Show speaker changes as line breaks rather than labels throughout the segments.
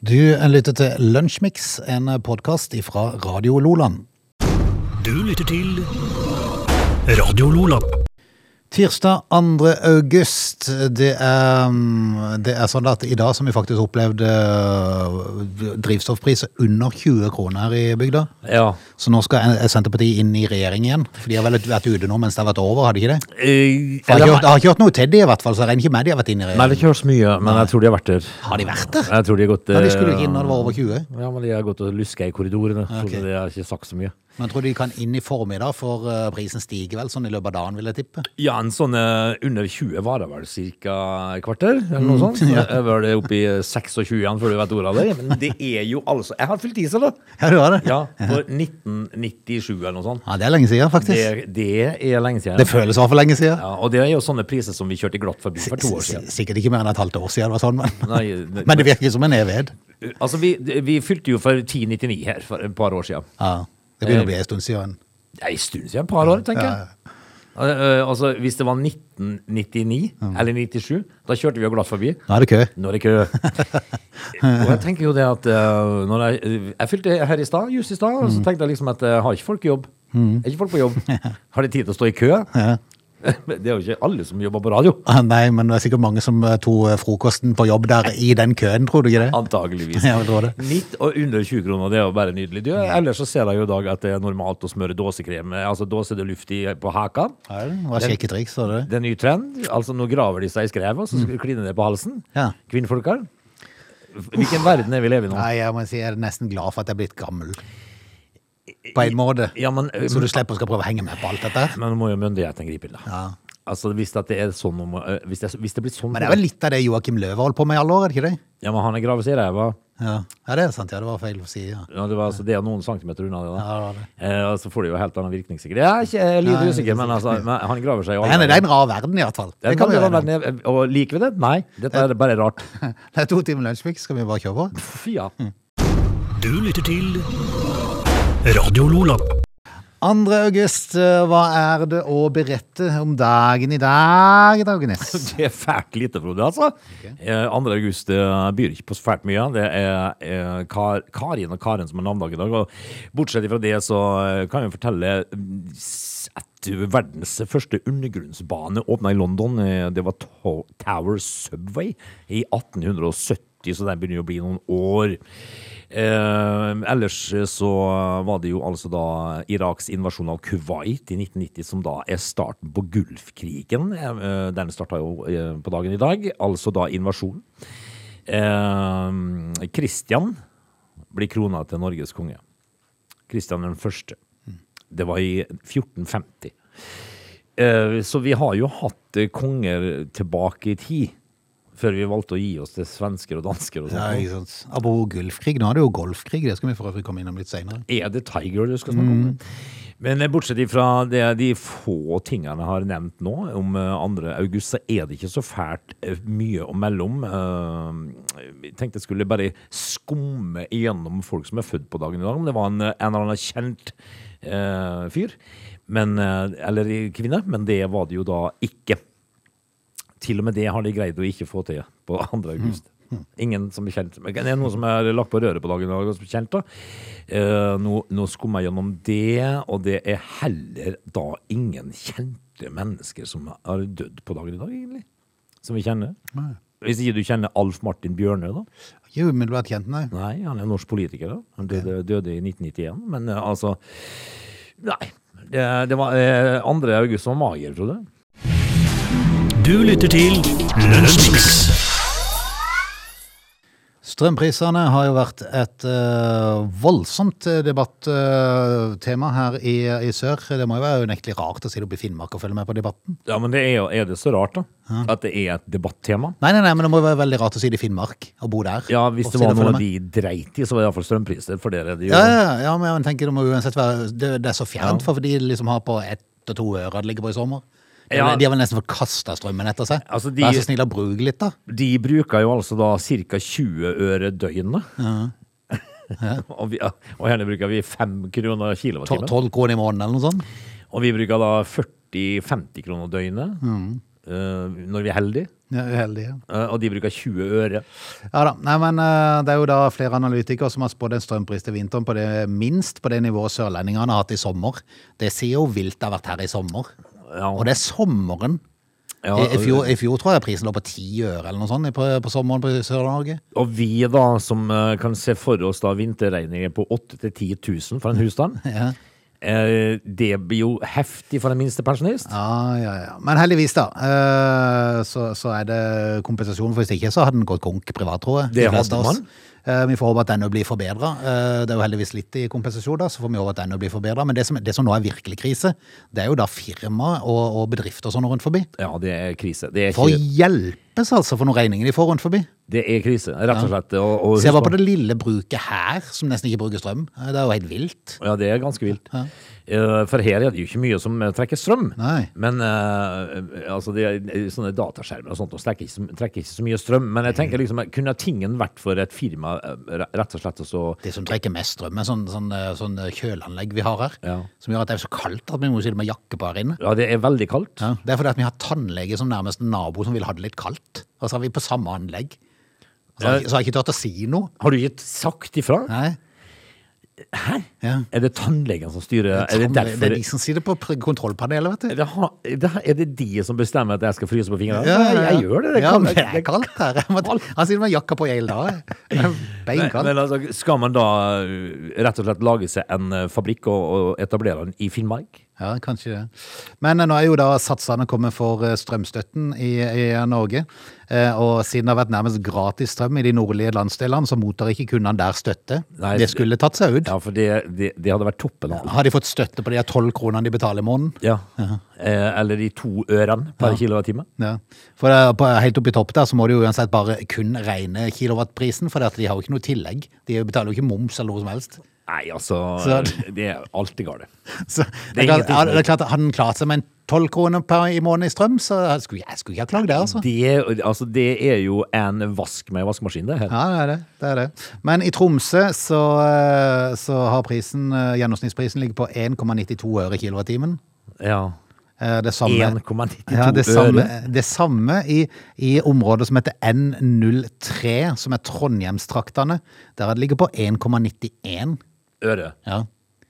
Du lytter til Lunsjmix, en podkast fra Radio Loland.
Du lytter til Radio Lola.
Tirsdag 2. august. Det er, det er sånn at i dag som vi faktisk opplevde eh, drivstoffpriser under 20 kroner her i bygda.
Ja.
Så nå skal eh, Senterpartiet inn i regjering igjen. For de har vel vært ute nå mens det har vært over, har de ikke det?
Eh,
For jeg har
eller-
ikke hørt- jeg har ikke hørt noe til de i hvert fall, så jeg regner ikke med de har vært inne i
Nei, det har
regjering.
ikke hørt så mye, men jeg tror de har vært der.
Har de vært der?
Jeg tror de har gått
Ja, de skulle jo
eh,
ikke inn når det var over 20.
Ja, men de har gått og luska i korridorene, så
Ok.
de har ikke sagt så mye.
Men jeg tror de kan inn i formiddag, for eh, prisen stiger vel sånn i løpet av dagen, vil jeg tippe.
Ja, en sånn eh, under 20 varer vel ca. et kvarter, eller noe sånt. Så Jeg var det oppe i 26 igjen før du vet ordet av det. Men det er jo altså Jeg har fylt i seg, da!
Ja, du har det?
Ja, for 1997 eller noe sånt.
Ja, det er lenge siden, faktisk. Det,
Det, det er lenge siden.
føles i hvert fall lenge siden.
ja, og det er jo sånne priser som vi kjørte glatt forbi for to år siden.
S- s- Sikkert ikke mer enn et halvt år siden det var sånn, men,
Nei, det-
men det virker som en evighet.
Altså, vi, vi fylte jo for 1099 her for et par år siden.
Ja, det begynner å bli en stund siden.
Det er en stund siden, et par år, tenker
Ja,
jeg. Eh, eh, Altså, hvis det var 1999 eller 97, da kjørte vi jo glatt forbi.
Nå er det kø.
Nå er det kø. Og jeg tenker jo det at eh, når jeg, eh, jeg fylte her i stad, just i stad, og
Mm.
så tenkte jeg liksom at eh, har ikke folk jobb? Er ikke folk på jobb? Har de tid til å stå i kø?
Ja.
Det er jo ikke alle som jobber på radio.
Ah, Nei, men det er sikkert mange som eh, tok eh, frokosten på jobb der i den køen, tror du ikke det?
Antageligvis.
Ja, jeg tror det. Mm.
Nitt og under 20 kroner, det er jo bare nydelig. Du, ellers så ser jeg jo i dag at det er normalt å smøre dåsekrem, eh, altså dåsede luft i, på haka.
Ja, det var
Den-
skikkelig triks, var det det?
Det er en ny trend. Altså, nå graver de seg i skrevet, og så skal de kline ned på halsen.
Mm. Ja.
Kvinnfolkene. Hvilken verden er vi lever i nå?
Nei, jeg må si jeg er nesten glad for at jeg er blitt gammel. På en måte.
Ja, men, eh,
Så du slipper å skal prøve å henge med på alt dette. her.
men nå må jo myndighetene gripe inn, da. Altså, hvis, at det er sånn om, eh, hvis, det, hvis det blir sånn
Men det er vel litt av det Joakim Løve holdt på med i alle år, er det ikke det?
Ja, men han er gravet seg i ræva.
Ja, ja det er sant. Ja, det var feil å si, ja.
Ja, det, var, altså, det er noen centimeter unna det, da.
Ja, det var det.
Eh, og så får det jo helt annen virkning, sikkert. Jeg er ikke jeg er litt
Nei,
usikker, men altså, men han graver seg i
Men det er en rar verden i hvert fall.
Det
kan vi gjøre.
være ned, og liker vi det? Nei, dette er bare rart.
Det er to timer lunsjmix, skal vi bare kjøre på?
Fy, ja.
Du lytter til Radio Lola.
2. august, eh, hva er det å berette om dagen i dag, Dagenes?
Det er fælt lite, Frode, altså. Eh, 2. august eh, byr ikke på så fælt mye. Det er eh, Kar Karin og Karen som har navnedag i dag. Og bortsett fra det så eh, kan jeg fortelle mm, s- at eh, verdens første undergrunnsbane åpna i London. Eh, Det var To- Tower Subway i 1870. Så den begynner jo å bli noen år. Eh, ellers så var det jo altså da Iraks invasjon av Kuwait i 1990 som da er starten på Gulfkrigen. Eh, eh, den starta jo eh, på dagen i dag, altså da invasjonen. Eh, Kristian blir krona til Norges konge. Kristian den første. Det var i 1450. Eh, så vi har jo hatt eh, konger tilbake i tid. Før vi valgte å gi oss til svensker og dansker og sånt.
Ja, ikke sant. Apropos gulfkrig, nå er det jo golfkrig, det skal vi for øvrig komme innom litt senere.
Er det Tiger du skal snakke om? Men eh, bortsett fra det, de få tingene jeg har nevnt nå, om eh, 2. august, så er det ikke så fælt eh, mye å melde om. Eh, Jeg tenkte jeg skulle bare skumme igjennom folk som er født på dagen i dag, om det var en, eh, en eller annen kjent eh, fyr, men, eh, eller kvinne, men det var det jo da ikke. Til og med det har de greid å ikke få til på 2. august. Ingen som er kjent. Men Det er noen som er lagt på røret på dagen i dag, og som er kjent. da. Eh, nå, nå skummer jeg gjennom det, og det er heller da ingen kjente mennesker som har dødd på dagen i dag, egentlig. Som vi kjenner.
Nei.
Hvis ikke du kjenner Alf Martin Bjørnø, da.
Ikke umiddelbart kjent, nei.
Nei, han er norsk politiker. da. Han døde, døde i 1991. Men eh, altså Nei. Det, det var eh, 2. august som var mager, Frode.
Du lytter til Lunsjmix.
Strømpriserne har jo vært et eh, voldsomt debattema her i, i sør. Det må jo være unektelig rart å sitte oppe i Finnmark og følge med på debatten.
Ja, men det er, jo- er det så rart, da? At det er et debattema?
Nei, nei, nei, men det må jo være veldig rart å sitte i Finnmark og bo der.
Ja, hvis
og
det
sitte
var
og følge
noe
med.
de dreit i, så var det iallfall strømpriser. For dere, det jo.
Ja, ja, ja, men jeg tenker det må uansett være Det, det er så fjernt
Ja.
for de liksom har på ett og to øre det ligger på i sommer. De,
Ja.
de har vel nesten fått kasta strømmen etter seg.
Altså, de-
Vær så snill å bruke litt, da.
De bruker jo altså da ca. 20 øre døgnet. og, vi, og gjerne bruker vi 5 kroner
To-
kilowattimen.
Tolv kroner i måneden eller noe sånt.
Og vi bruker da 40-50 kroner døgnet. eh, når vi er heldige.
Ja, Uheldige.
Eh, og de bruker 20 øre.
Ja da. Nei, men eh, det er jo da flere analytikere som har spådd en strømpris til vinteren på det minst på det nivået sørlendingene har hatt i sommer. Det sier jo vilt det har vært her i sommer.
Ja.
Og det er sommeren.
Ja,
I,
altså,
i, fjor, I fjor tror jeg prisen lå på ti øre eller noe sånt i- på, på sommeren på Sør-Norge.
Og vi da, som eh, kan se for oss da vinterregninger på 8 000-10 000 for en husstand,
Ja.
eh, det blir jo heftig for en minstepensjonist.
Ja, ja, ja. Men heldigvis, da. eh, Så, så er det kompensasjon. for Hvis ikke så hadde den gått konk privat, tror jeg.
Det
de fleste
hadde
av oss.
man.
Eh, Vi får håpe at den nå blir forbedra. Det er jo heldigvis litt i kompensasjon, da, så får vi håpe at den nå blir forbedra. Men det som, det som nå er virkelig krise, det er jo da firmaer og, og bedrifter og sånn rundt forbi.
Ja, det er krise. Det er,
For
ikke,
hjelpes, altså, for noen regninger de får rundt forbi.
det er krise, rett og slett. Og, og
Se
husk
bare
på-
på det lille bruket her, som nesten ikke bruker strøm. Eh, Det er jo helt vilt.
Ja, det er ganske vilt. Eh, For her er det jo ikke mye som eh, trekker strøm.
Nei.
Men eh, altså det er sånne dataskjermer og sånt og trekker, ikke, så- trekker ikke så mye strøm. Men jeg tenker liksom, kunne tingen vært for et firma eh, re- rett og slett og så
Det som trekker mest strøm, er sånn, sånn, eh, sånn kjøleanlegg vi har her.
Ja.
Som gjør at det er så kaldt at vi må sitte med jakke på her inne.
Ja, det er veldig kaldt.
Ja. Det er fordi at vi har tannlege som nærmest nabo som vil ha det litt kaldt. Og så er vi på samme anlegg. Så har,
Ja.
så har jeg ikke turt å si noe.
Har du ikke sagt ifra?
Nei.
Hæ?
Ja.
Er det tannlegen som styrer? Er det
Tann-
derfor
det er de som sier det på pr- kontrollpanelet, vet
Er
du.
det, ha- er det- er det de som bestemmer at jeg skal fryse på fingrene?
Ja, ja, ja.
Jeg gjør det. det
ja,
kan-
men det er kaldt her. Jeg må, han sitter med jakka på i hele dag. Det er
Nei,
Beinkaldt.
Men altså, skal man da uh, rett og slett lage seg en uh, fabrikk og, og etablere den i Finnmark?
Ja, kanskje det. Men eh, nå er jo da satsene kommet for eh, strømstøtten i, i Norge. Eh, Og siden det har vært nærmest gratis strøm i de nordlige landsdelene, så mottar ikke kundene der støtte.
Nei,
det skulle tatt seg ut.
Ja, for det, det, det hadde vært toppen av alt.
Har de fått støtte på de tolv kronene de betaler i måneden?
Ja. Eh, eller de to ørene per kilowattime.
Ja. For det er på, helt oppe i topp der så må du jo uansett bare kun regne kilowattprisen, for de har jo ikke noe tillegg. De betaler jo ikke moms eller noe som helst.
Nei, altså
Så-
Det er alltid galt.
Så
Det
det
er
er klart,
ingenting
ja,
som-
det er klart, Hadde den klart seg med en tolv kroner per i måneden i strøm, så skulle jeg skulle ikke ha klagd det, altså.
Det, altså, det er jo en vask med vaskemaskin, det her.
Ja, det er det. det er det. Men i Tromsø så, eh, så har prisen, eh, gjennomsnittsprisen ligger på 1,92 øre kilowattimen.
Ja.
Eh, Det samme,
1,92
ja, det samme,
øre.
det samme i, i området som heter N03, som er Trondheimstraktene. Der har det ligget på 1,91.
øre.
Ja.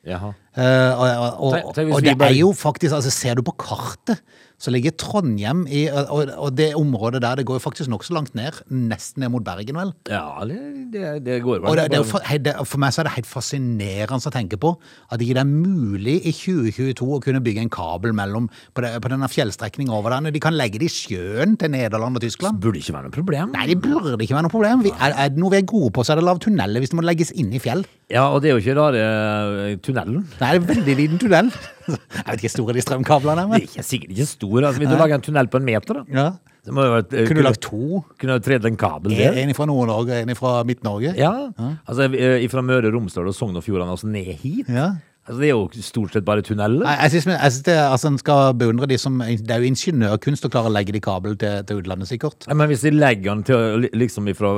Jaha.
Eh, og, og,
Tenk-
og,
tenk hvis
og
vi
det
bare-
er jo faktisk, altså ser du på kartet, så ligger Trondheim i Og, og det området der, det går jo faktisk nokså langt ned. Nesten ned mot Bergen, vel.
Ja, det, det, det går vel.
Og det, det er jo
bare-
for, hei, det, for meg så er det helt fascinerende å tenke på at ikke det er mulig i 2022 å kunne bygge en kabel mellom på, det, på denne fjellstrekningen over der. De kan legge det i sjøen til Nederland og Tyskland.
burde ikke være noe problem.
Nei, det burde ikke være noe problem. Vi, er, er det noe vi er gode på, så er det å lage tunneler hvis det må legges inn i fjell.
Ja, og det er jo ikke rare eh, tunnelen.
Det er en veldig liten tunnel. Jeg vet ikke hvor store de strømkablene er,
Det er
men
ikke, sikkert ikke stor. Altså, vil du lage en tunnel på en meter, da?
ja.
Det må jo være, et- eh,
Kunne du lagd to?
Kunne du tredd en kabel der?
En fra Nord-Norge og en fra Midt-Norge?
Ja. Altså, eh, fra Møre og Romsdal og Sogn og Fjordane og så ned hit.
Ja.
Altså, det er jo stort sett bare tunneler.
Nei, jeg synes, jeg synes det, altså, en skal beundre de som Det er jo ingeniørkunst å klare å legge det i kabel til, til utlandet, sikkert.
Nei, Men hvis de legger den til å li- liksom fra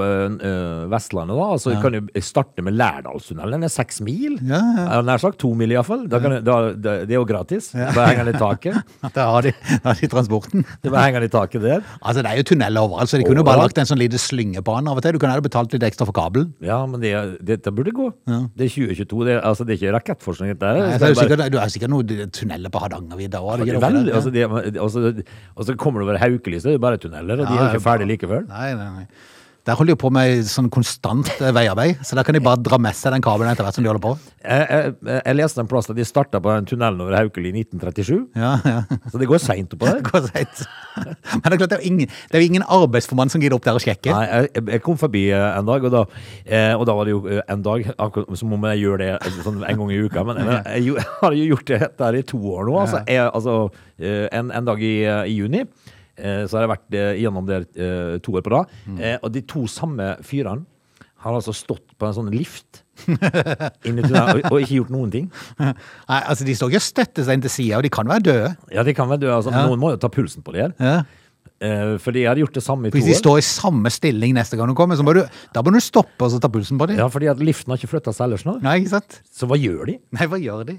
Vestlandet, da, så kan du starte med Lærdalstunnelen. Den er seks mil.
Ja, ja.
Eh, Nær sagt to mil, iallfall. Da kan, du- da, da, det er jo gratis. Bare henger den i taket.
Da har de, da har de transporten.
Du bare henger den i taket der.
Altså, det er jo tunneler overalt, så de kunne jo bare
Overalt.
lagt en sånn liten slynge på den av og til. Du kunne jo betalt litt ekstra for kabelen.
Ja, men det, dette burde gå. Det er 2022. Det, er- altså, det er ikke rakettforskning, dette. her.
Nei,
Så
Altså, det er jo
bare-
sikkert, du har jo sikkert noen tunneler på Hardangervidda òg.
Vel, altså, det, altså, og så kommer du over Haukeli, så er det bare tunneler, og de er jo ikke ferdige likevel.
Nei, nei, nei. Der holder de jo på med sånn konstant eh, veiarbeid, så der kan de bare dra med seg den kabelen etter hvert som de holder på.
Jeg, jeg, jeg leste en plass at de starta på den tunnelen over Haukeli i 1937,
Ja, ja.
så det går seint på det.
Går sent. Men det er klart, det er jo ingen, det er jo ingen arbeidsformann som gidder opp der og sjekke.
Nei, jeg, jeg- jeg kom forbi eh, en dag, og da, eh, og da var det jo eh, en dag akkurat Som om jeg gjør det eh, sånn en gang i uka, men men jeg, jo- har jo gjort det der i to år nå. Altså, jeg, altså eh, en, en dag i, eh, i juni eh, så har jeg vært eh, gjennom det eh, to år på rad.
Mm.
Eh, Og de to samme fyrene har altså stått på en sånn lift inni tunnelen og, og ikke gjort noen ting.
Nei, altså De står ikke og støtter seg inn til sida, og de kan være døde.
Ja, de kan vel dø. Altså, Noen må jo ta pulsen på de her.
Ja.
Eh, fordi jeg hadde gjort det samme i to
Hvis de
år.
står i samme stilling neste gang du kommer, så må du, da må du stoppe og så ta pulsen på dem.
Ja, fordi at liften har ikke flytta seg ellers nå.
Nei, ikke sant?
Så hva gjør de?
Nei, hva gjør de?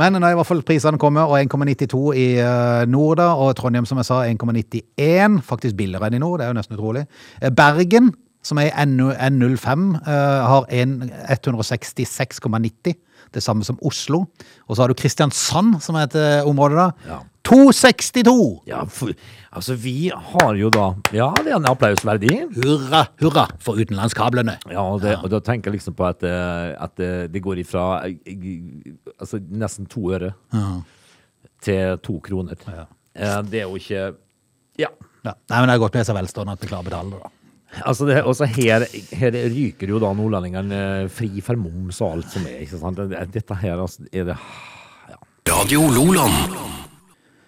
Men nå er i hvert fall prisene kommet, og 1,92 i eh, nord da, og Trondheim som jeg sa 1,91, faktisk billigere enn i nord, det er jo nesten utrolig. Eh, Bergen, som er i NO N05, eh, har en 166,90, det samme som Oslo. Og så har du Kristiansand, som er et eh, område da,
Ja.
262!
Ja, for, altså, vi har jo da Ja, det er en applaus verdig.
Hurra, hurra for utenlandskablene!
Ja, og, det, og da tenker jeg liksom på at, eh, at eh, det går ifra eh, g- altså, nesten to øre til to kroner. Eh, Det er jo ikke Ja.
Ja. Nei, men det er godt med seg velstående at vi klarer å betale det da.
Altså det, også her, her ryker jo da nordlendingene fri for moms og alt som er. ikke sant? Det- Dette her altså, er det
Radio Loland.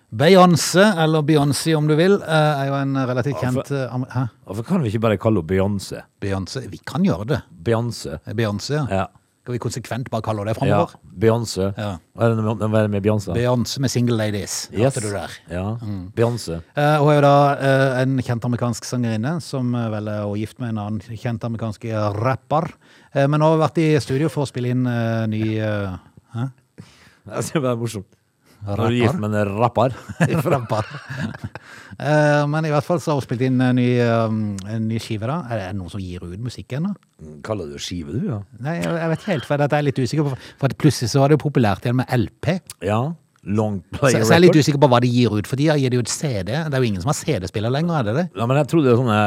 Beyoncé, eller Beyoncé om du vil, eh, er jo en relativt kjent eh, amer- Hæ?
Hvorfor kan vi ikke bare kalle henne Beyoncé?
Beyoncé. Vi kan gjøre det.
Beyoncé.
Beyoncé, ja.
Ja.
Skal vi konsekvent bare kalle det
ja.
framover?
Beyoncé.
Ja.
Hva er det med- hva er det med Beyoncé?
Beyoncé med Single Ladies.
Yes.
Hørte du der? Mm.
Ja. Beyoncé.
Eh, Hun er jo da eh, en kjent amerikansk sangerinne, som eh, vel er også gift med en annen kjent amerikansk rapper. Eh, Men nå har hun vært i studio for å spille inn eh, ny eh, hæ?
Det er bare morsomt. Når du er gift
rapper.
med en rapper.
rapper. Eh, Men i hvert fall så har hun spilt inn en ny, eh, en ny skive, da. Er det noen som gir ut musikk ennå?
Kaller du det skive, du? Ja.
Nei, jeg jeg vet ikke helt, for dette er jeg litt usikker på. For at plutselig så var det jo populært igjen med LP.
ja. Long
Så,
play
så jeg er litt
record.
usikker på hva de gir ut, for de gir det jo et CD. Det er jo ingen som har CD-spiller lenger, er det det?
Ja, men jeg trodde sånne,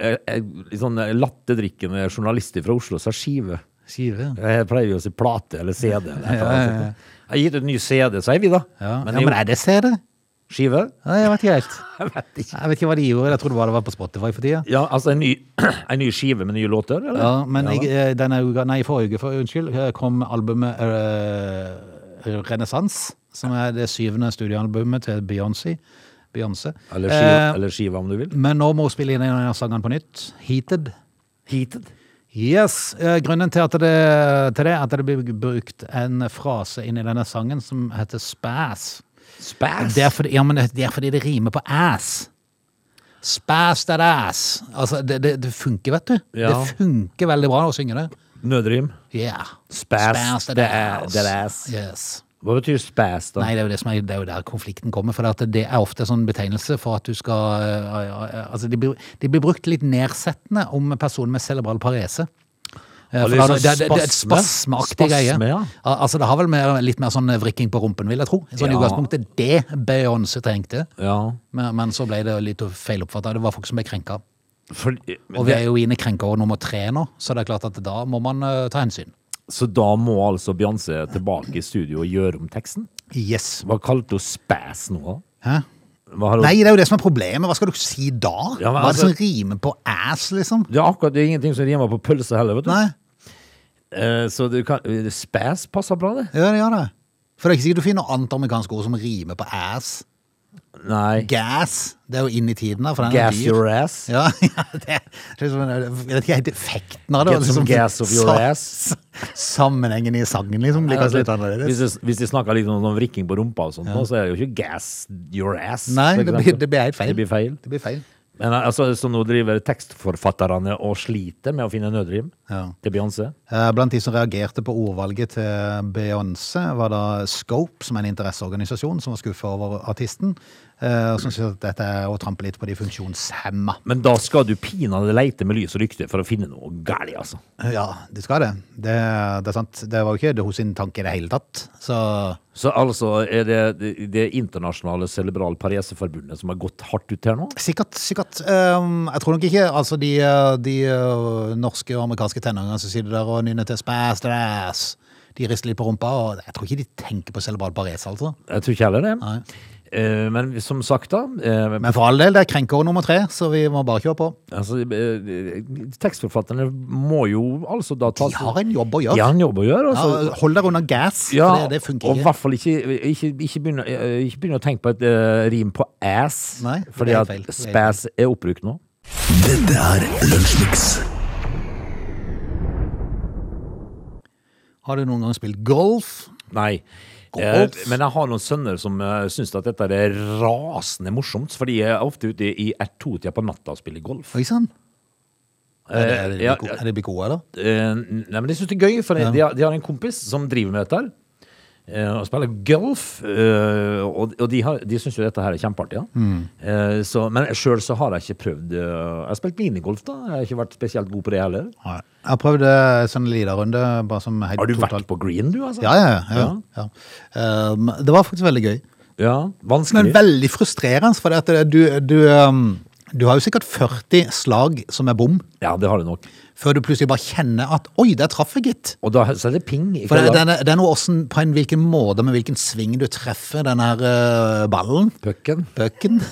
eh, eh, litt sånne latterdrikkende journalister fra Oslo sa skive.
Skive.
Jeg pleier jo å si plate eller CD. Eller et eller annet sånt. altså. Jeg har gitt ut ny CD, sier vi da.
Ja.
Men,
ja, men er det CD?
skive?
Nei, jeg vet ikke helt.
Jeg vet ikke.
Jeg vet ikke hva de gjorde, jeg trodde bare det var på Spotify for tida.
Ja, altså en ny, en ny skive med nye låter, eller?
Ja, men
Ja,
jeg, eh, denne uka, nei, forrige uke, for, unnskyld, eh, kom albumet uh, Renaissance, som er det syvende studioalbumet til Beyoncé. Beyoncé.
Eller, skive,
Eh,
eller skiva, om du vil.
men nå må hun spille inn en av sangene på nytt. Heated.
Heated.
Yes, eh, Grunnen til at det, til det er at det blir brukt en frase inni denne sangen som heter spæs.
Spass.
Det er fordi, ja, men det det er fordi det rimer på ass. Spæs that ass. Altså, det, det, det funker, vet du.
Ja.
Det funker veldig bra å synge det.
Nødrim.
Yeah.
Spæs that ass.
Yes.
Hva betyr spass, da?
Nei, det er, jo det, som er, det er jo der konflikten kommer. For det at det er ofte en sånn betegnelse for at du skal eh, ja, ja, Altså, de blir, de blir brukt litt nedsettende om personer med cerebral parese. Eh,
Og
For
litt
da er det, det,
sånn
det, det er et
spasme.
spasmeaktig greie.
Spasme, ja.
Al- Altså, det har vel mer, litt mer sånn vrikking på rumpen, vil jeg tro. I sånn
Ja.
utgangspunktet det Beyoncé trengte.
Ja.
Men, men så ble det litt feiloppfatta. Det var folk som ble krenka.
For, men
Og vi
det-
er jo inne i krenkeår nummer tre nå, så det er klart at da må man eh, ta hensyn.
Så da må altså Beyoncé tilbake i studio og gjøre om teksten?
Yes.
Hva kalte hun spass nå, da?
Hæ?
Hva har hun-
Nei, det er jo det som er problemet. Hva skal du si da?
Ja, men
Hva er det
altså-
som rimer på ass, liksom?
Det er akkurat det er ingenting som rimer på pølse heller, vet du.
Nei,
Eh, så du kan, spass passer bra, det.
ja, det gjør det. For det er ikke sikkert du finner annet amerikansk ord som rimer på ass.
Nei.
Gas, det er jo inn i tiden da, for den
Gas
er dyr.
your ass.
Ja, ja, det er, det er som, jeg vet ikke helt effekten av det. liksom
Get some gas of your
sa-
ass.
Sammenhengen i sangen, liksom, blir kanskje litt annerledes.
Altså, Hvis de, hvis de snakker litt om sånn vrikking på rumpa og sånt, nå, så er det jo ikke 'gas your ass'.
Nei,
for
det blir,
eksempel.
det blir helt feil.
Det blir feil.
Det blir feil.
Men altså, så nå driver tekstforfatterne og sliter med å finne nødrim
Ja.
til Beyoncé.
Eh, Blant de som reagerte på ordvalget til Beyoncé, var da Scope, som er en interesseorganisasjon som var skuffa over artisten, eh, og som syntes at dette er å trampe litt på de funksjonshemma.
Men da skal du pinadø leite med lys og lykte for å finne noe galt, altså.
Ja, du skal det. det. Det er sant. Det var jo ikke det hos sin tanke i det hele tatt. Så
Så altså er det det, det internasjonale cerebral pareseforbundet som har gått hardt ut her nå?
sikkert, sikkert. Ehm, jeg tror nok ikke altså de, eh, de eh, norske og amerikanske tenåringene som sitter der og nynner til spæs, det er ass», de rister litt på rumpa, og jeg tror ikke de tenker på cerebral parese, altså.
Jeg tror ikke heller det.
Nei.
Eh, men som sagt, da. eh,
Men for all del, det er krenkeår nummer tre, så vi må bare kjøre på.
altså, eh, tekstforfatterne må jo altså da ta
De har en jobb å gjøre.
De har en jobb å gjøre. Altså.
Ja, hold deg unna gas, for det, det funker
og i
ikke.
hvert fall ikke, ikke, ikke, begynne, eh, ikke begynne å tenke på et eh, rim på ass,
Nei, det er
fordi
helt
at
feil. Det er helt
spass er oppbrukt nå.
Dette er Lunsjmix.
Har du noen gang spilt golf?
Nei. Eh,
Golf.
men jeg har noen sønner som uh, syns at dette er rasende morsomt, for de er ofte ute i ett-to-tida på natta og spiller golf.
Oi sann. Er det-
Eh,
er det
ja,
blitt go- er det blitt gode, eller?
Eh, nei, men de syns det er gøy, for de, har, de har en kompis som driver med dette. her, eh, og spiller golf. eh, og og de, har, de syns jo dette her er kjempeartig. Ja.
Mm.
Eh, så, men sjøl så har jeg ikke prøvd eh, Jeg har spilt minigolf, da. Jeg har ikke vært spesielt god på det heller.
Nei. Jeg har prøvd eh, sånn Lida-runde. bare som helt
Har du
totalt-
vært på green, du? altså?
Ja, ja. ja, ja. ja. Um, det var faktisk veldig gøy.
Ja,
Men
Vanskelig.
veldig frustrerende, for at det- du, du, um, du har jo sikkert 40 slag som er bom,
Ja, det har du nok.
før du plutselig bare kjenner at 'oi, der traff jeg, gitt'.
Og da så er det ping. i
For det,
kølla.
det, er- det er noe åssen, på en hvilken måte, med hvilken sving du treffer den her eh, ballen,
Pucken.
bøkken,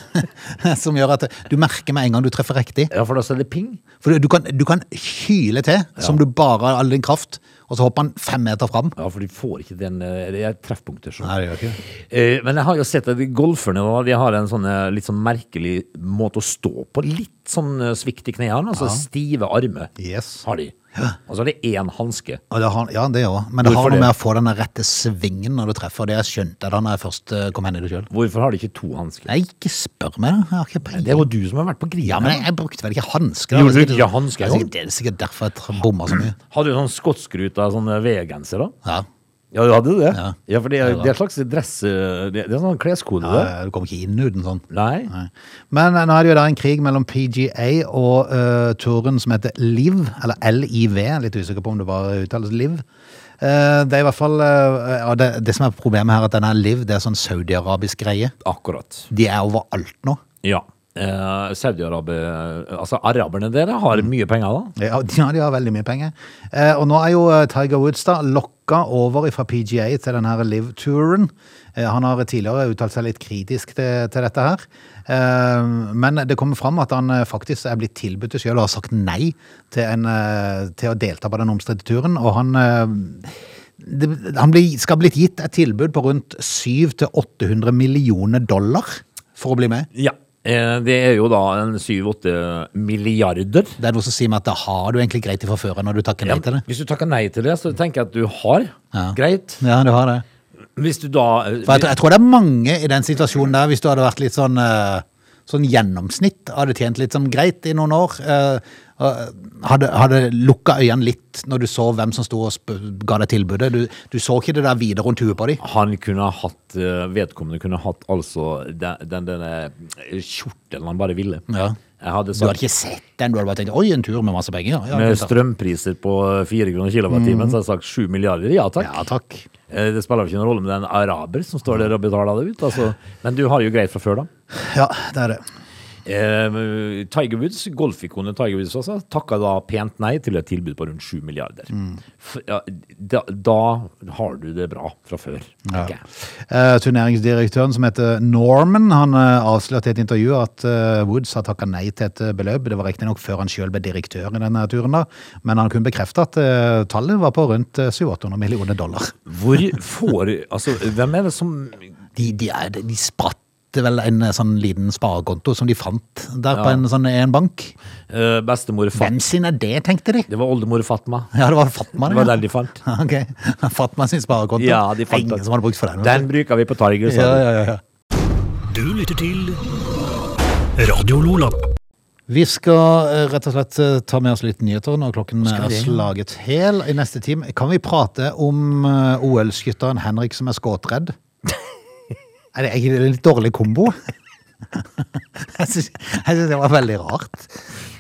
som gjør at du merker med en gang du treffer riktig.
Ja, for da så er det ping.
For du kan, du kan kyle til, som du bare har all din kraft, og så hopper han fem meter fram.
Ja, for de får ikke den eh, Det er treffpunkter. Så.
Nei, det gjør ikke det.
Eh, Men jeg har jo sett at de golferne da, de har en sånn eh, litt sånn merkelig måte å stå på. Litt sånn eh, svikt i knærne, altså stive armer
Yes.
har de. Og så har de én hanske.
Og det har, ja, det òg. Men det
Hvorfor
har noe
det?
med å få den rette svingen når du treffer. Det jeg skjønte jeg da når jeg først eh, kom hen i det sjøl.
Hvorfor har de ikke to hansker?
Nei, ikke spør meg, da. Jeg har ikke
Det er
peiling.
jo du som har vært på Grina.
Ja, men jeg, jeg brukte vel ikke hansker? da. Det
Gjorde
er
du
sikkert-
ikke hansker,
Det er
jo?
sikkert- Det er sikkert derfor jeg tra- bomma så mye.
Hadde du sånn skottskruta sånn eh, V-genser, da?
Ja.
Ja, du hadde det?
Ja.
ja for det er, det er en slags dress eh, Det det er sånn kleskode, det.
Eh, Du kommer ikke inn uten sånn.
Nei?
Nei. Men eh, nå er det jo da en krig mellom PGA og eh, turen som heter LIV, eller LIV, litt usikker på om det bare uttales LIV. Eh, det er i hvert fall eh, ja, det, det som er problemet her, at denne LIV, det er sånn saudi-arabisk greie.
Akkurat.
De er overalt nå.
Ja. Eh, Saudi-Arabia Altså, araberne dere har mye penger, da?
Ja, de ja, de har veldig mye penger. Eh, og nå er jo eh, Tiger Woods da lokka over fra PGA til denne Live-turen. Eh, han har tidligere uttalt seg litt kritisk til, til dette her. Eh, men det kommer fram at han eh, faktisk er blitt tilbudt det sjøl og har sagt nei til, en, eh, til å delta på den omstridte turen. Og han eh, det, han blir, skal ha blitt gitt et tilbud på rundt 700-800 millioner dollar for å bli med.
Ja. eh, Det er jo da en 7-8 milliarder.
Det er noe som sier meg at da har du egentlig greit ifra før av når du takker nei til det.
Hvis du takker nei til det, så tenker jeg at du har.
Ja.
Greit.
Ja, du har det.
Hvis du da eh,
For jeg, tror- jeg tror det er mange i den situasjonen der, hvis du hadde vært litt sånn, eh, sånn gjennomsnitt, hadde tjent litt sånn greit i noen år, eh, og hadde, hadde lukka øynene litt når du så hvem som sto og sp ga deg tilbudet. Du, du så ikke det der videre rundt huet på dem.
Han kunne ha hatt eh, Vedkommende kunne ha hatt altså den, den, denne skjorten han bare ville.
Ja.
Jeg
Du hadde
hadde sagt
ikke sett den, du hadde bare tenkt 'oi, en tur med masse penger'. Ja,
med
ja,
strømpriser på 4 kroner kilowattimen, så hadde jeg sagt 7 milliarder. Ja takk.
ja takk.
Eh, Det spiller jo ikke noen rolle med den araber som står der og betaler det ut. Altså. Men du har det jo greit fra før, da.
Ja, det er det.
Eh, Tiger Woods, golfikonet Tiger Woods også, takka da pent nei til et tilbud på rundt 7 milliarder.
Mm.
F- ja, da, da har du det bra fra før.
Ja.
tenker jeg.
Eh, turneringsdirektøren som heter Norman, han eh, avslørte i et intervju at eh, Woods har takka nei til et eh, beløp. Det var riktignok før han sjøl ble direktør i denne turen, da, men han kunne bekrefte at eh, tallet var på rundt eh, 700-800 millioner dollar.
Hvor får Altså, hvem er det som
De, de, er, de spratt vel en eh, sånn liten sparekonto som de fant der på en sånn en bank.
eh, Bestemor Fatma
Hvem sin er det, tenkte de?
Det var oldemor Fatma.
Ja, det var Fatma,
Det var den de fant.
Ok, Fatma sin sparekonto.
Ja, de fant
Ingen
den.
som hadde brukt for den. vet
Den bruker vi på Tiger.
du.
sa
Ja,
du.
ja, ja, ja.
Du lytter til Radio Lola.
Vi skal eh, rett og slett eh, ta med oss litt nyheter når klokken
Skal
er
vi det?
slaget hel. I neste time kan vi prate om eh, OL-skytteren Henrik som er skåtredd. Er det egentlig en litt dårlig kombo? Jeg syns jeg syns det var veldig rart.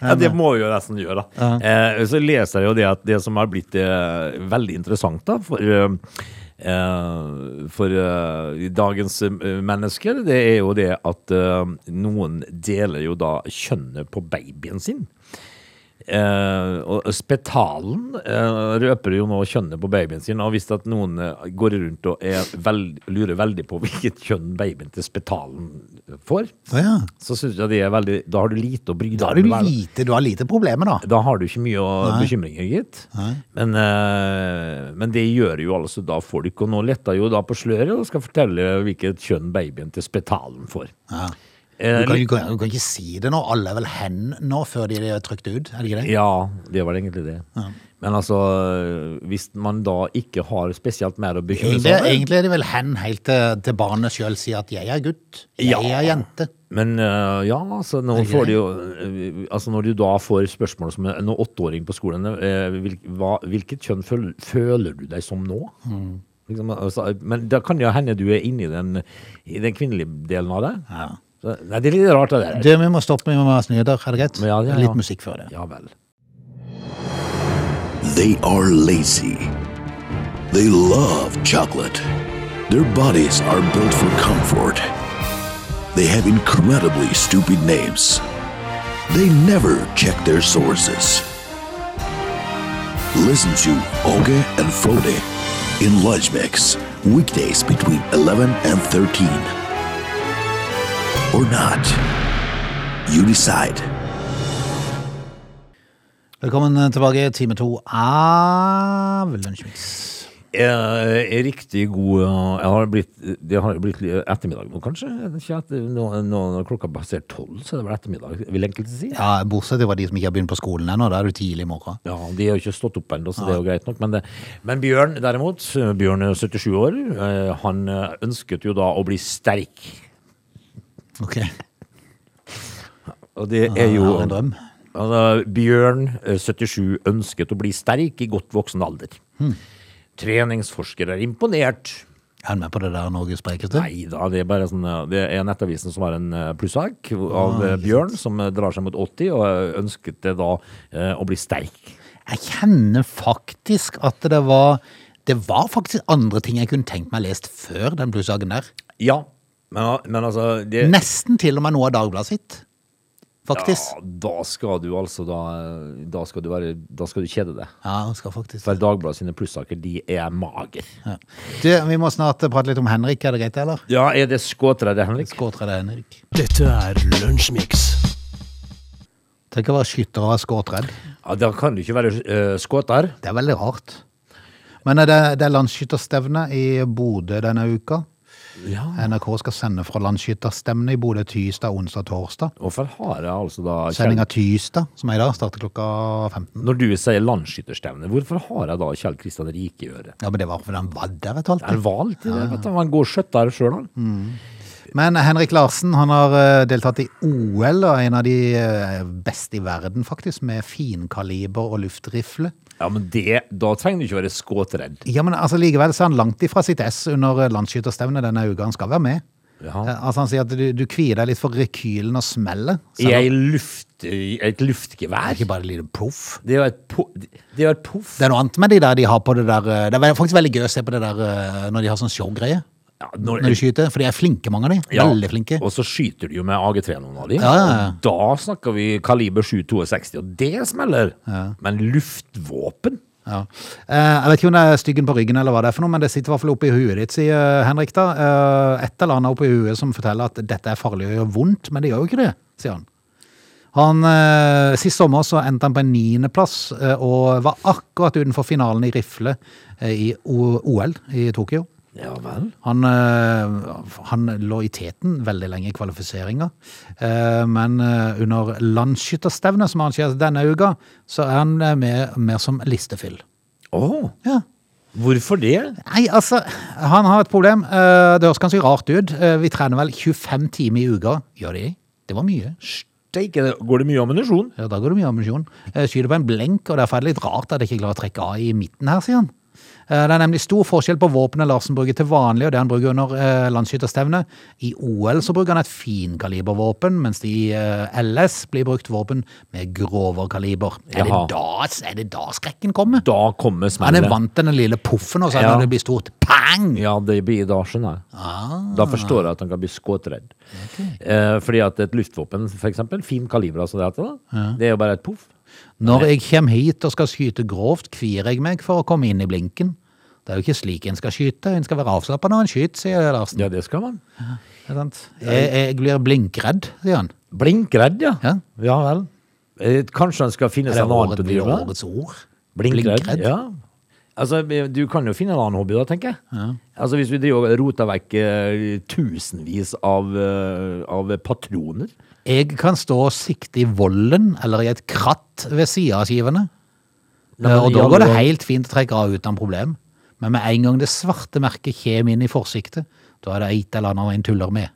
Ja, det må vi jo nesten gjøre, da. Eh, så leser jeg jo det at det som har blitt eh, veldig interessant, da, for eh, eh, for eh, dagens eh, mennesker, det er jo det at eh, noen deler jo da kjønnet på babyen sin. Eh, og spetalen eh, røper jo nå kjønnet på babyen sin, og hvis at noen eh, går rundt og er veld, lurer veldig på hvilket kjønn babyen til spetalen får,
Å ja.
så syns jeg det er veldig Da har du lite å bry deg
Da har du
med verden.
lite, du har lite problemer, da.
Da har du ikke mye å bekymringer, gitt. Men, eh, men det gjør jo altså da folk. Og nå letter jo da på sløret og skal fortelle hvilket kjønn babyen til spetalen får.
Ja.
Eh,
Du, kan, du, kan, du kan ikke si det nå. Alle er vel hen nå før de er trykt ut, er det ikke det?
Ja, det var egentlig det. Men altså, hvis man da ikke har spesielt mer å bekymre
Egentlig,
seg om
egentlig er det vel hen helt til, til barnet sjøl sier at 'jeg er gutt', 'jeg
Ja.
er jente'.
Men eh, ja, altså, nå
Er det
får de
greit?
jo, eh, altså når du da får spørsmål som en åtteåring på skolen eh, hvil, hva, Hvilket kjønn føl, føler du deg som nå?
Mm.
Liksom, altså, men da kan det jo hende du er inne i den, i den kvinnelige delen av det. Så, nei, det er litt rart, det der.
Du, vi må stoppe, vi må ha nyheter. Er det greit?
Ja, ja, ja.
Litt musikk før det.
Ja vel.
They are lazy. They love chocolate. Their bodies are built for comfort. They have incredibly stupid names. They never check their sources. Listen to Oge and Frode in Lunch Mix, weekdays between 11 and 13. Or not. You decide.
Velkommen eh, tilbake, time to av Lunsjmix.
Eh, riktig god eh, jeg har blitt, Det har blitt litt ettermiddag nå, kanskje? Jeg vet ikke at Nå, nå når klokka har passert tolv, så er det vel ettermiddag, vil enkelte si.
Ja, bortsett fra de som ikke har begynt på skolen ennå. Da er du tidlig i morgen.
Ja, De har jo ikke stått opp ennå, så det er jo greit nok. Men, det, men Bjørn derimot, eh, Bjørn er 77 år, eh, han eh, ønsket jo da å bli sterk.
Ok.
Og det er jo
Ja, en drøm.
Altså, Bjørn eh, 77 ønsket å bli sterk i godt voksen alder. Treningsforskere er imponert.
Er han med på det der Norges sprekeste?
Nei da, det er bare sånn eh, Det er Nettavisen som har en eh, plussak av eh, Bjørn, som eh, drar seg mot 80, og eh, ønsket det da eh, å bli sterk.
Jeg kjenner faktisk at det var Det var faktisk andre ting jeg kunne tenkt meg lest før den plussagen der.
Ja, men, men altså det,
Nesten til og med noe av Dagbladet sitt. Faktisk.
Ja, da skal du altså da eh, Da skal du, være, da skal du kjede deg.
Ja, han skal faktisk.
For Dagbladet sine plussaker, de er mager.
Ja. Du, vi må snart prate litt om Henrik, er det greit, eller?
Ja, er det skåtredde, Henrik?
Skåtre det, Henrik.
Dette er Lunsjmix.
Tenk å være skytter og være skåtredd.
Ja, da kan du ikke være uh, skåter.
Det er veldig rart. Men eh, det, det er landsskytterstevne i Bodø denne uka.
Ja.
NRK skal sende fra landsskytterstevne i Bodø tirsdag, onsdag, torsdag.
Hvorfor har jeg altså da Kjell,
Sendinga tirsdag, som er i dag, starter klokka 15.
Når du sier landskytterstevne, hvorfor har jeg da Kjell Kristian Rike i øret?
Ja, men det var fordi han var der et halvt
Er han valgt i det? Vet du, han går skjøtter sjøl, han.
Men Henrik Larsen han har eh, deltatt i OL, og er en av de eh, beste i verden, faktisk, med finkaliber og luftrifle.
Ja, men det, da trenger du ikke være skåtredd.
Ja, men altså Likevel så er han langt ifra sitt ess under eh, landsskytterstevnet denne uka. Han skal være med.
Ja.
Eh, Altså Han sier at du, du kvier deg litt for rekylen og smellet.
I
selv om-
ei luft, i et
Det er
luftgevær.
Ikke bare et lite proff.
Det er jo et, po, det er jo et poff.
Det er noe annet med de der de har på det der eh, Det er vel- faktisk veldig gøy å se på det der eh, når de har sånn showgreie.
Ja,
Når de skyter. For de er flinke, mange av de.
ja,
Veldig flinke.
Og så skyter du jo med AG3 noen av de.
Ja, ja, ja.
Og Da snakker vi kaliber 762, og det smeller. Men luftvåpen?
Ja. Eh, Jeg vet ikke om det er styggen på ryggen eller hva det er for noe, men det sitter i hvert fall oppi huet ditt, sier Henrik da. Eh, Et eller annet oppi huet som forteller at dette er farlig og gjør vondt, men det gjør jo ikke det, sier han. Han, eh, sist sommer så endte han på en niendeplass eh, og var akkurat utenfor finalen i rifle eh, i O- OL i Tokyo.
Ja vel.
Han, eh, han lå i teten veldig lenge i kvalifiseringa, Eh, men eh, under landsskytterstevnet som arrangeres denne uka, så er han eh, med mer som listefyll.
Å,
Ja.
hvorfor det?
Nei, altså, han har et problem. Eh, Det høres ganske rart ut. Eh, Vi trener vel 25 timer i uka. Gjør de? Det var mye.
Steike, går det mye ammunisjon?
Ja, da går det mye ammunisjon. Eh, Skyter på en blenk, og derfor er det litt rart at jeg ikke klarer å trekke av i midten her, sier han. Eh, Det er nemlig stor forskjell på våpenet Larsen bruker til vanlig, og det han bruker under eh, landsskytterstevnet. I OL så bruker han et finkalibervåpen, mens det i eh, LS blir brukt våpen med grovere kaliber. Er det,
Jaha.
da, er det da skrekken kommer?
Da kommer
Han
smellet.
er vant til den lille poffen, og så er det
Ja.
når det blir stort pang!
Ja, det blir da skjønner jeg.
Ah.
Da forstår jeg at han kan bli skåtredd. Eh, fordi at et luftvåpen, for eksempel, fin kaliber, altså det heter, da, det er jo bare et poff.
Når jeg kommer hit og skal skyte grovt, kvier jeg meg for å komme inn i blinken. Det er jo ikke slik en skal skyte, en skal være avslappet når en skyter, sier Larsen.
Ja, det skal man.
Er det sant? Jeg, jeg blir blinkredd, sier han.
Blinkredd, ja.
Ja.
vel. Eh, kanskje han skal finne
Er det
seg en annen
året,
til å
blir
drive
det
med?
årets ord?
Blinkredd. Ja. Altså, du kan jo finne en annen hobby da, tenker jeg. Altså, hvis vi driver og roter vekk eh, tusenvis av, eh, av patroner.
Jeg kan stå og sikte i volden eller i et kratt ved siden av skivene.
Nei, men
og
i
da
alle
går det
dager-
helt fint å trekke av uten problem. Men med en gang det svarte merket kommer inn i forsiktet, da er det et eller annet en tuller med,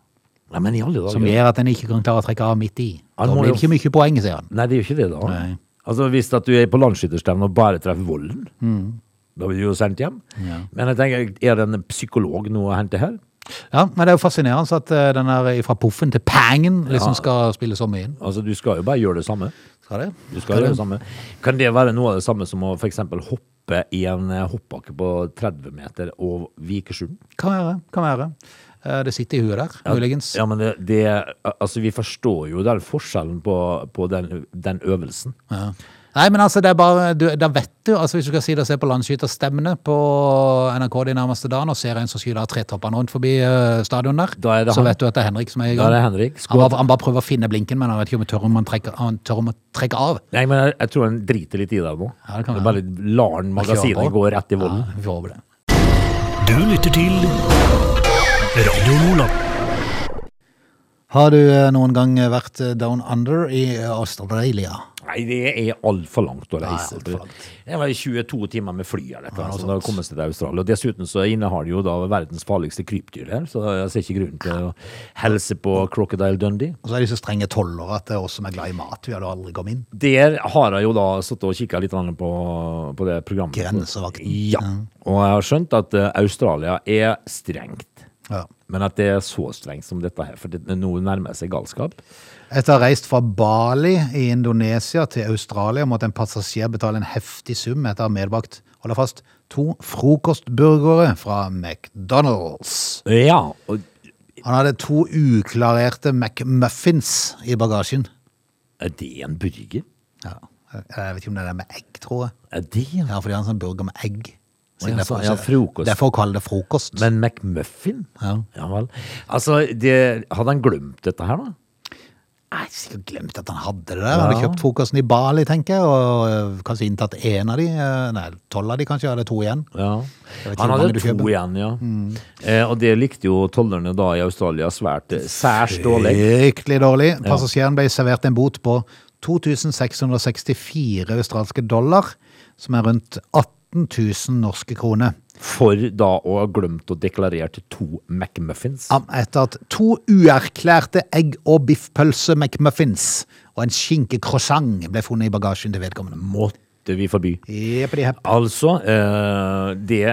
Nei, men i alle dager.
som gjør at en ikke kan klare å trekke av midt i. Da
Han må
blir det
jo-
ikke mye poeng, sier han.
Nei, det er jo ikke det, da.
Nei.
Altså, Hvis at du er på landsskytterstevne og bare treffer volden,
Mm.
da blir du jo sendt hjem. Men jeg tenker, er det en psykolog noe å hente her?
Ja, men det er jo fascinerende at eh, den der fra poffen til pangen liksom skal spille så mye inn.
Altså, Du skal jo bare gjøre det samme.
Skal det?
Du skal gjøre det samme. Kan det være noe av det samme som å f.eks. hoppe i en eh, hoppbakke på 30 meter og Vikersund?
Kan være, kan være. Eh, Det sitter i huet der, muligens.
Ja, men det, det Altså, vi forstår jo den forskjellen på, på den, den øvelsen.
Ja. Nei, men altså, det er bare, du, da vet du, altså hvis du skal si det og se på landskyterstemmene på NRK de nærmeste dagene, og ser en som skyter tretoppene rundt forbi eh, stadion der,
Da er det
så
han.
vet du at det er Henrik som er i
Da
gang.
er det Henrik.
Han
Skål.
bare, han bare prøver å finne blinken, men han vet ikke om han tør om han trekker, han tør om å trekke av.
Nei, men jeg, jeg tror han driter litt i det nå.
Ja, det kan
bare lar den
Han kjører på.
magasinet gå rett i volden.
Ja, vi får håpe det.
Du lytter til Radio Lola.
Har du eh, noen gang vært eh, down under i eh, Australia?
Nei, det er altfor langt å reise.
Nei, alt for langt.
Det var 22 timer med fly eller noe
noe
sånt. Da kommer seg til Australia. Og dessuten så innehar det jo da verdens farligste krypdyr her, så jeg ser ikke grunn til å helse på Crocodile Dundee.
Og så er de så strenge toller at det er oss som er glad i mat, vi hadde aldri kommet inn.
Der har jeg jo da sittet og kikka litt grann på, på det programmet.
Grensevakten.
Ja. Og jeg har skjønt at eh, Australia er strengt.
Ja.
Men at det er så strengt som dette her, for det, nå nærmer det seg galskap.
Etter å ha reist fra Bali i Indonesia til Australia måtte en passasjer betale en heftig sum etter å ha medbrakt hold deg fast, to frokostburgere fra McDonald's.
Ja, og
Han hadde to uklarerte McMuffins i bagasjen.
er det en burger?
Ja. Jeg vet ikke om det er det med egg, tror jeg.
Er det en
Ja, for de har en sånn burger med egg.
Å, ja,
det er for-
så- ja, frokost.
Det er for å kalle det frokost.
Men McMuffin?
Ja.
vel. Altså, det, hadde han glemt dette her, da?
jeg har sikkert glemt at han hadde det der. Han hadde kjøpt frokosten i Bali, tenker jeg, og øh, kanskje inntatt én av de. øh, Nei, tolv av de kanskje, eller to igjen.
Ja.
Jeg vet ikke
Han
hvor mange
hadde
du
to
kjøper. Mm.
igjen, ja. Eh, og det likte jo tollerne da i Australia svært eh, særs dårlig.
Fryktelig dårlig. Passasjeren ble servert en bot på 2664 australske dollar, som er rundt 18 000 norske kroner.
For da å ha glemt å deklarere to McMuffins.
Am- Etter at to uerklærte egg- og biffpølse McMuffins og en skinkecroissant ble funnet i bagasjen til vedkommende.
Måtte vi forby.
Jeppidi hepp.
Altså, eh, det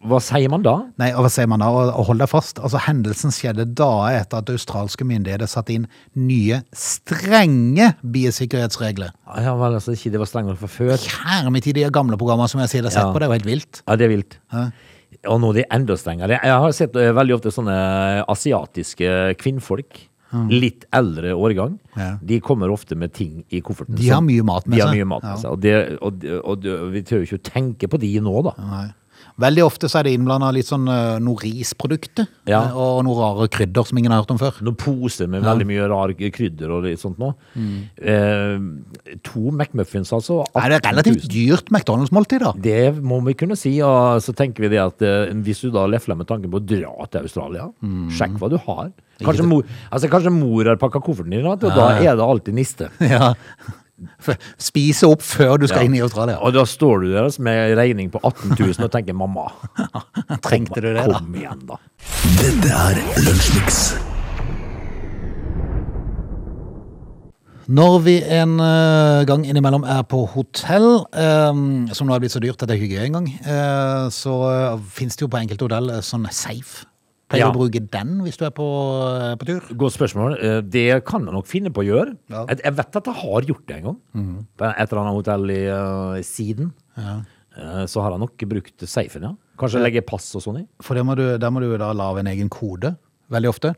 Hva sier man da?
Nei, og hva sier man da? Og og hold deg fast. Altså, hendelsen skjedde dager etter at australske myndigheter satte inn nye, strenge biosikkerhetsregler.
Ja vel, altså, ikke det var strengere fra før.
Kjære mitt i de gamle programmer som jeg sier det har sett
Ja.
på, det er jo helt vilt.
Ja, det er vilt. Og nå er de enda strengere. Jeg har sett eh, veldig ofte sånne asiatiske kvinnfolk. Litt eldre årgang.
Ja.
De kommer ofte med ting i kofferten.
De har
som-
mye mat med
de har
seg.
mye mat med
Ja.
seg. Og, det, og, det- og det, vi tør jo ikke å tenke på de nå, da.
Nei. Veldig ofte så er det innblanda litt sånn eh, noe risprodukter
Ja.
eh, og noen rare krydder som ingen har hørt om før.
Noen poser med veldig mye rar krydder og litt sånt nå. Eh, to McMuffins, altså.
Nei, det Mm. er
18 000.
relativt dyrt McDonald's-måltid, da.
Det må vi kunne si, og så tenker vi det at eh, hvis du da lefler med tanken på å dra til Australia,
Mm.
sjekk hva du har. Kanskje mor, altså, kanskje mor har pakka kofferten din, og da er det alltid niste.
Ja. F- Spise opp før du skal
Ja.
inn i Australia.
Og da står du der altså, med regning på 18 000 og tenker 'mamma,
Trengte du det, da?
kom igjen, da'.
Dette er Lunsjmix.
Når vi en eh, gang innimellom er på hotell, eh, som nå er blitt så dyrt at det er ikke gøy engang, eh, så uh, fins det jo på enkelte hotell eh, sånn safe. Pleier
Ja.
du å bruke den hvis du er på, eh, på tur?
Godt spørsmål. Eh, Det kan jeg nok finne på å gjøre.
Ja.
Jeg, jeg vet at jeg har gjort det en gang. På et eller annet hotell i eh, Siden. Eh, så har jeg nok brukt safen, ja. Kanskje legge pass og sånn i.
For det må du, der må du da lage en egen kode, veldig ofte.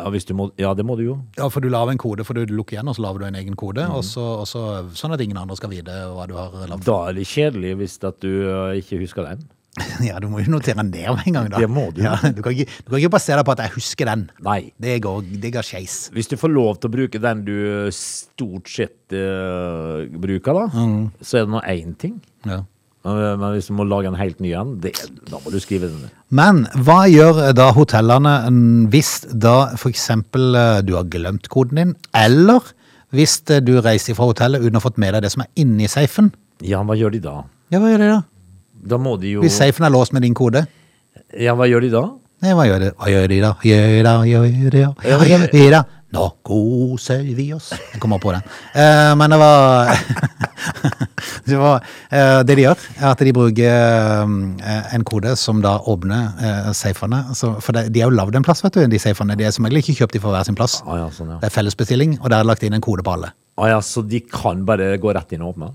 Ja, hvis du må, ja, det må du jo.
Ja, for du lager en kode, for du lukker igjen, og så lager du en egen kode, og så, og så, sånn at ingen andre skal vite hva du har lagd.
Da er det kjedelig hvis at du eh, ikke husker den.
Ja, du må jo notere den ned om en gang, da.
Det må du.
Ja, du, kan ikke, du kan ikke basere deg på at jeg husker den.
Nei.
Det går, det går skeis.
Hvis du får lov til å bruke den du stort sett eh, bruker, da, så er det nå én ting.
Ja.
Men, eh, men hvis du må lage en helt ny en, det, da må du skrive den.
Men hva gjør da hotellene mm, hvis da for eksempel eh, du har glemt koden din, eller hvis eh, du reiser fra hotellet uten å ha fått med deg det som er inni safen?
Ja, hva gjør de da?
Ja, hva gjør de da?
Da må de jo
Hvis safen er låst med din kode?
Ja, hva gjør de da?
Nei, hva gjør de? Hva gjør de da? Gjør de da? Gjør de da? Hva gjør de da? Nå koser vi oss. Jeg kommer på den. Eh, men det var, det, var eh, det de gjør, er at de bruker eh, en kode som da åpner eh, safene. Så, for de, de er jo lagd en plass, vet du. De safene. De er som regel ikke kjøpt de for hver sin plass.
Å ja, sånn, ja.
Det er fellesbestilling, og der er det lagt inn en kode på alle.
Å ja, så de kan bare gå rett inn og åpne?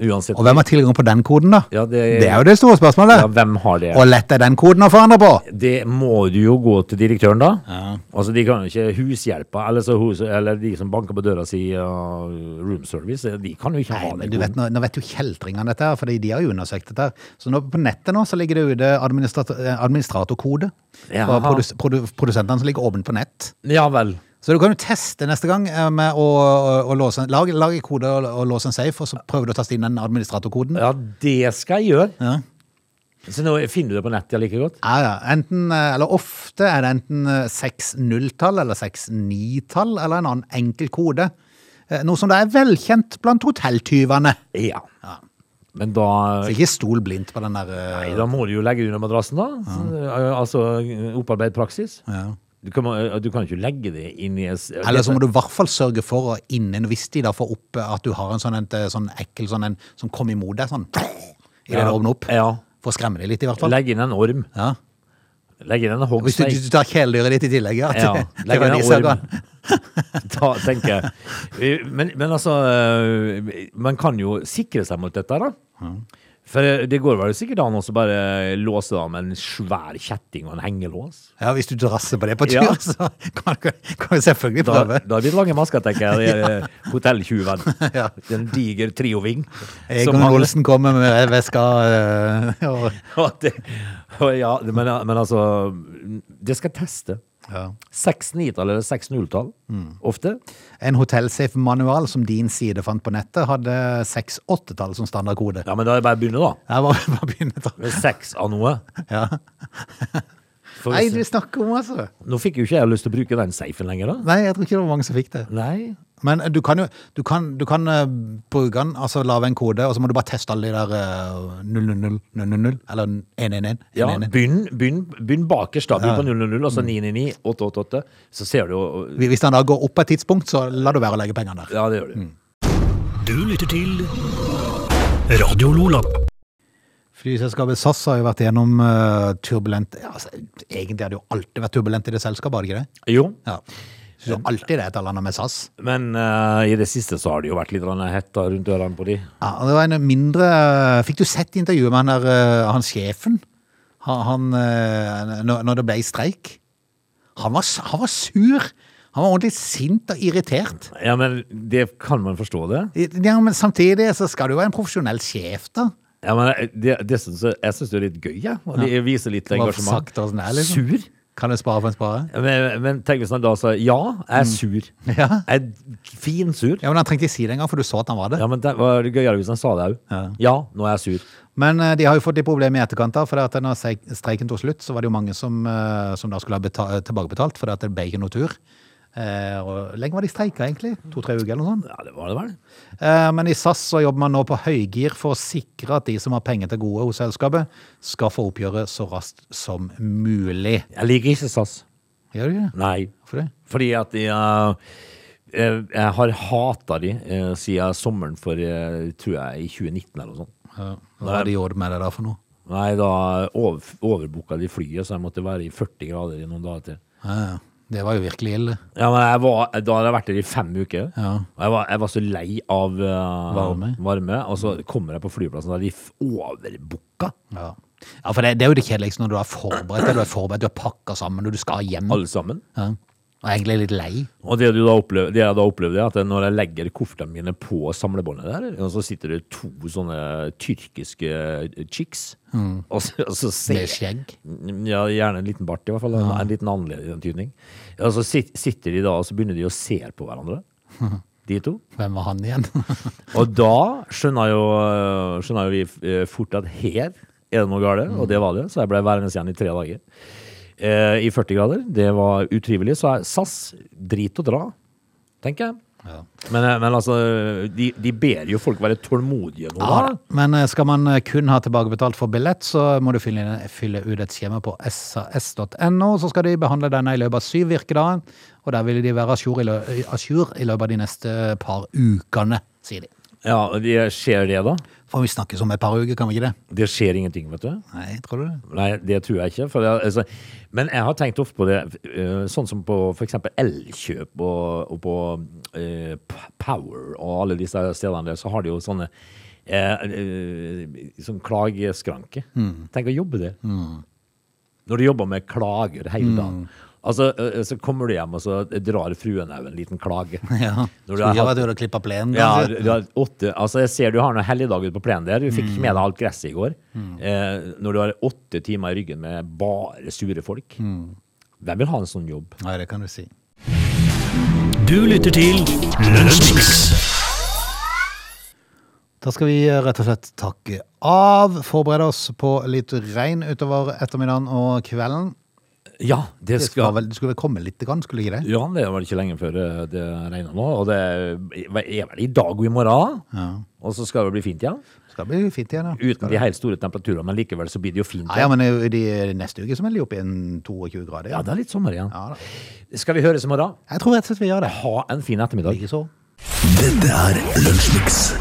Uansett.
Mhm. Og hvem har tilgang på den koden, da?
Ja, det-
er jo det store spørsmålet.
Ja, hvem har det?
Og lett er den koden å forandre på!
Det må du jo gå til direktøren, da. Altså, De kan jo ikke hushjelpa, eller, så hus, eller de som banker på døra si uh, room service. De kan jo ikke
Nei,
ha
men
den
du vet, nå, nå vet jo kjeltringene dette her, for de har jo undersøkt dette. her. Så nå, på nettet nå så ligger det ute administrat eh, administratorkode
Jaha.
fra produs produ produsentene som ligger åpent på nett.
Ja vel.
Så du kan jo teste neste gang eh, med å, å, å låse en, lage, lage kode og, og låse en safe, og så prøver du å taste inn den administratorkoden. Ja.
Ja, det skal jeg gjøre.
Ja.
Så nå finner du det på nettet ja, like godt?
Ja, Enten, eh, eller ofte er det enten eh, seks nulltall eller seks nitall, eller en annen enkel kode. Eh, Noe som da er velkjent blant hotelltyvene.
Ja. Men da
Så ikke stol blindt på den der eh,
Nei, da må du jo legge det under madrassen, da. Så, uh, Altså uh, opparbeid praksis.
Ja.
Du kan, uh, du kan jo ikke legge det inn i en s-
Eller så må du i hvert fall sørge for å innen en viss tid da, få opp eh, at du har en sånn, en, eh, sånn ekkel sånn en som kommer imot deg sånn i det
Ja.
du åpner opp.
Ja.
For å skremme deg litt, i hvert fall.
Legge inn en orm.
Ja.
Legge inn en
Og hvis du,
hoggstein.
du tar kjæledyret ditt i tillegg, ja.
Ja,
til- til
legg inn en
verdisorgan.
Da tenker jeg eh, men, men altså eh, Man kan jo sikre seg mot dette, da.
Mm.
For eh, det går vel sikkert an å så bare låse det av med en svær kjetting og en hengelås.
Ja, hvis du drasser på det på tur,
Ja.
så kan du, kan du selvfølgelig
Da,
prøve.
da blir det lange masker, tenker jeg. eh, Hotelltyven.
Ja.
En diger trioving. som
Eh, Egon
mangler-
Olsen kommer med veska eh, og
og det- og Ja, men, men altså Det skal teste.
ja.
Seks nitall eller seks nulltall,
Mm.
ofte.
En hotellsafe-manual som din side fant på nettet, hadde seks åttetall som standardkode.
Ja, men da er det bare å begynne, da.
Jeg var, var begynnet å...
Med seks av noe.
Ja.
For
Nei,
hvis-
du snakker om, altså.
Nå fikk jo ikke jeg lyst til å bruke den safen lenger, da.
Nei, jeg tror ikke det var mange som fikk det.
Nei.
Men eh, du kan jo du kan, du kan eh, bruke den, altså lage en kode, og så må du bare teste alle de der eh, 000, 000, eller 111.
Ja,
111.
begynn, begynn, begynn bakerst, da. Begynn på 000, og så 999, 888. Så ser du jo
Hvis- Hvis den da går opp på et tidspunkt, så la du være å legge pengene der.
Ja, det gjør du.
Mm.
Du lytter til Radio Lola.
Flyselskapet SAS har jo vært gjennom eh, turbulent ja, altså, Egentlig har det jo alltid vært turbulent i det selskapet, har det ikke det?
Jo,
Ja. Så det er alltid det et eller annet med SAS.
men eh, i det siste så har det jo vært litt grann hetta rundt ørene på de.
Ja, og det var en mindre Fikk du sett intervjuet med han der eh, Han sjefen? Han, han, eh, når når det ble streik? Han var, s- han var sur! Han var ordentlig sint og irritert.
Ja, men det kan man forstå, det.
Ja, men samtidig så skal du jo være en profesjonell sjef, da.
Ja, men det, det synes jeg, jeg syns det er litt gøy, jeg. Og det viser litt
Bare
engasjement.
sakte og sånn her, liksom.
Sur?
Kan du spare for en spare?
Men, men tenk hvis han da sa ja, jeg er sur.
Mm. Ja.
Jeg er finsur.
Ja, men Han trengte ikke si det engang, for du så at han var det.
Ja, men det var gøyere hvis han sa det òg. Ja. nå er jeg sur.
Men eh, de har jo fått litt problemer i etterkant, da, for at når streik- streiken tok slutt, så var det jo mange som, eh, som da skulle ha beta- tilbakebetalt, for at det ble ikke noe tur. Eh, og lenge var de streika, egentlig? To-tre uker, eller noe sånt?
Ja, det var det vel.
Eh, Men i SAS så jobber man nå på høygir for å sikre at de som har penger til gode hos selskapet, skal få oppgjøret så raskt som mulig.
Jeg liker ikke SAS.
Gjør du ikke det?
Nei.
Hvorfor det?
Fordi at de eh, eh, Jeg har hata de eh, siden sommeren for eh, tror jeg i 2019 eller noe sånt.
Hva har de gjort med det da for noe?
Nei, da over, overbooka de flyet, så jeg måtte være i 40 grader i noen dager til.
Ja, ja. Det var jo virkelig ille.
Ja, men jeg var, Da hadde jeg vært der i fem uker.
Ja.
Og jeg var, jeg var så lei av eh,
Varme.
varme. Og så kommer jeg på flyplassen, og de f- overbooka.
Ja, ja for det, det er jo det kjedeligste når du er forberedt, du er forberedt, du har pakka sammen og du skal hjem.
Alle sammen.
Ja. Og egentlig litt lei.
Og det, du da opplever, det jeg da opplevde, er at når jeg legger koffertene mine på samlebåndet der, og så sitter det to sånne tyrkiske eh, chicks og så, og så ser,
Med skjegg?
Ja, gjerne en liten bart, i hvert fall. En, en liten annerledes tydning. Og så sit, sitter de da, og så begynner de å se på hverandre, de to.
Hvem var han igjen?
Og da skjønner jo, skjønner jo vi eh, fort at her er det noe galt, og det var det. Så jeg ble værende igjen i tre dager. Eh, I 40 grader. Det var utrivelig. Så er SAS drit å dra, tenker jeg. Men, eh, men altså, de, de ber jo folk være tålmodige nå, da.
Men eh, skal man eh, kun ha tilbakebetalt for billett, så må du fylle, inn, fylle ut et skjema på sas.no. Så skal de behandle denne i løpet av syv virkedager, og der vil de være à jour i, lø à jour i løpet av de neste par ukene, sier de.
Ja, og de, skjer det, da?
For vi snakkes om et par uker, kan vi ikke det?
Det skjer ingenting, vet du.
Nei, tror du det?
Nei, det tror jeg ikke. For det, altså, men jeg har tenkt ofte på det, eh, sånn som på f.eks. Elkjøp og, og på eh, P- Power og alle disse stedene der, så har de jo sånne eh, eh, sånn klageskranke. Tenk å jobbe der. Når du jobber med klager hele dagen. Altså, eh, så kommer du hjem, og så drar fruen òg en liten klage.
Ja.
Når
Skulle
du har
ikke
hatt-
vært ute og klippa plenen,
Ja,
kanskje?
du du har åtte Altså jeg ser du har noen helligdager på plenen der. Du fikk
Mm.
ikke med deg alt gresset i går. Eh, når du har åtte timer i ryggen med bare sure folk.
Mm.
Hvem vil ha en sånn jobb?
Nei, det kan du si.
Du lytter til Lunsjmix.
Da skal vi eh, rett og slett takke av. Forberede oss på litt regn utover ettermiddagen og kvelden.
Ja, det
Det skal
skal
vel, det skulle vel komme litt, grann, skulle ikke det?
Ja, det er vel ikke lenge før eh, det regner nå. Og det er vel i dag og i morgen.
Ja.
Og så skal det bli fint igjen.
Skal bli fint igjen, ja.
Uten de helt store temperaturene, men likevel så blir det jo fint.
Ja, ja, men det er jo de, neste uke så melder de opp i en 22 grader.
ja,
Ja.
det er litt sommer igjen.
Ja, da.
Skal vi høres i morgen?
Jeg tror rett og slett vi gjør det.
Ha en fin ettermiddag.
Ikke så.
Dette er Lunsjmix.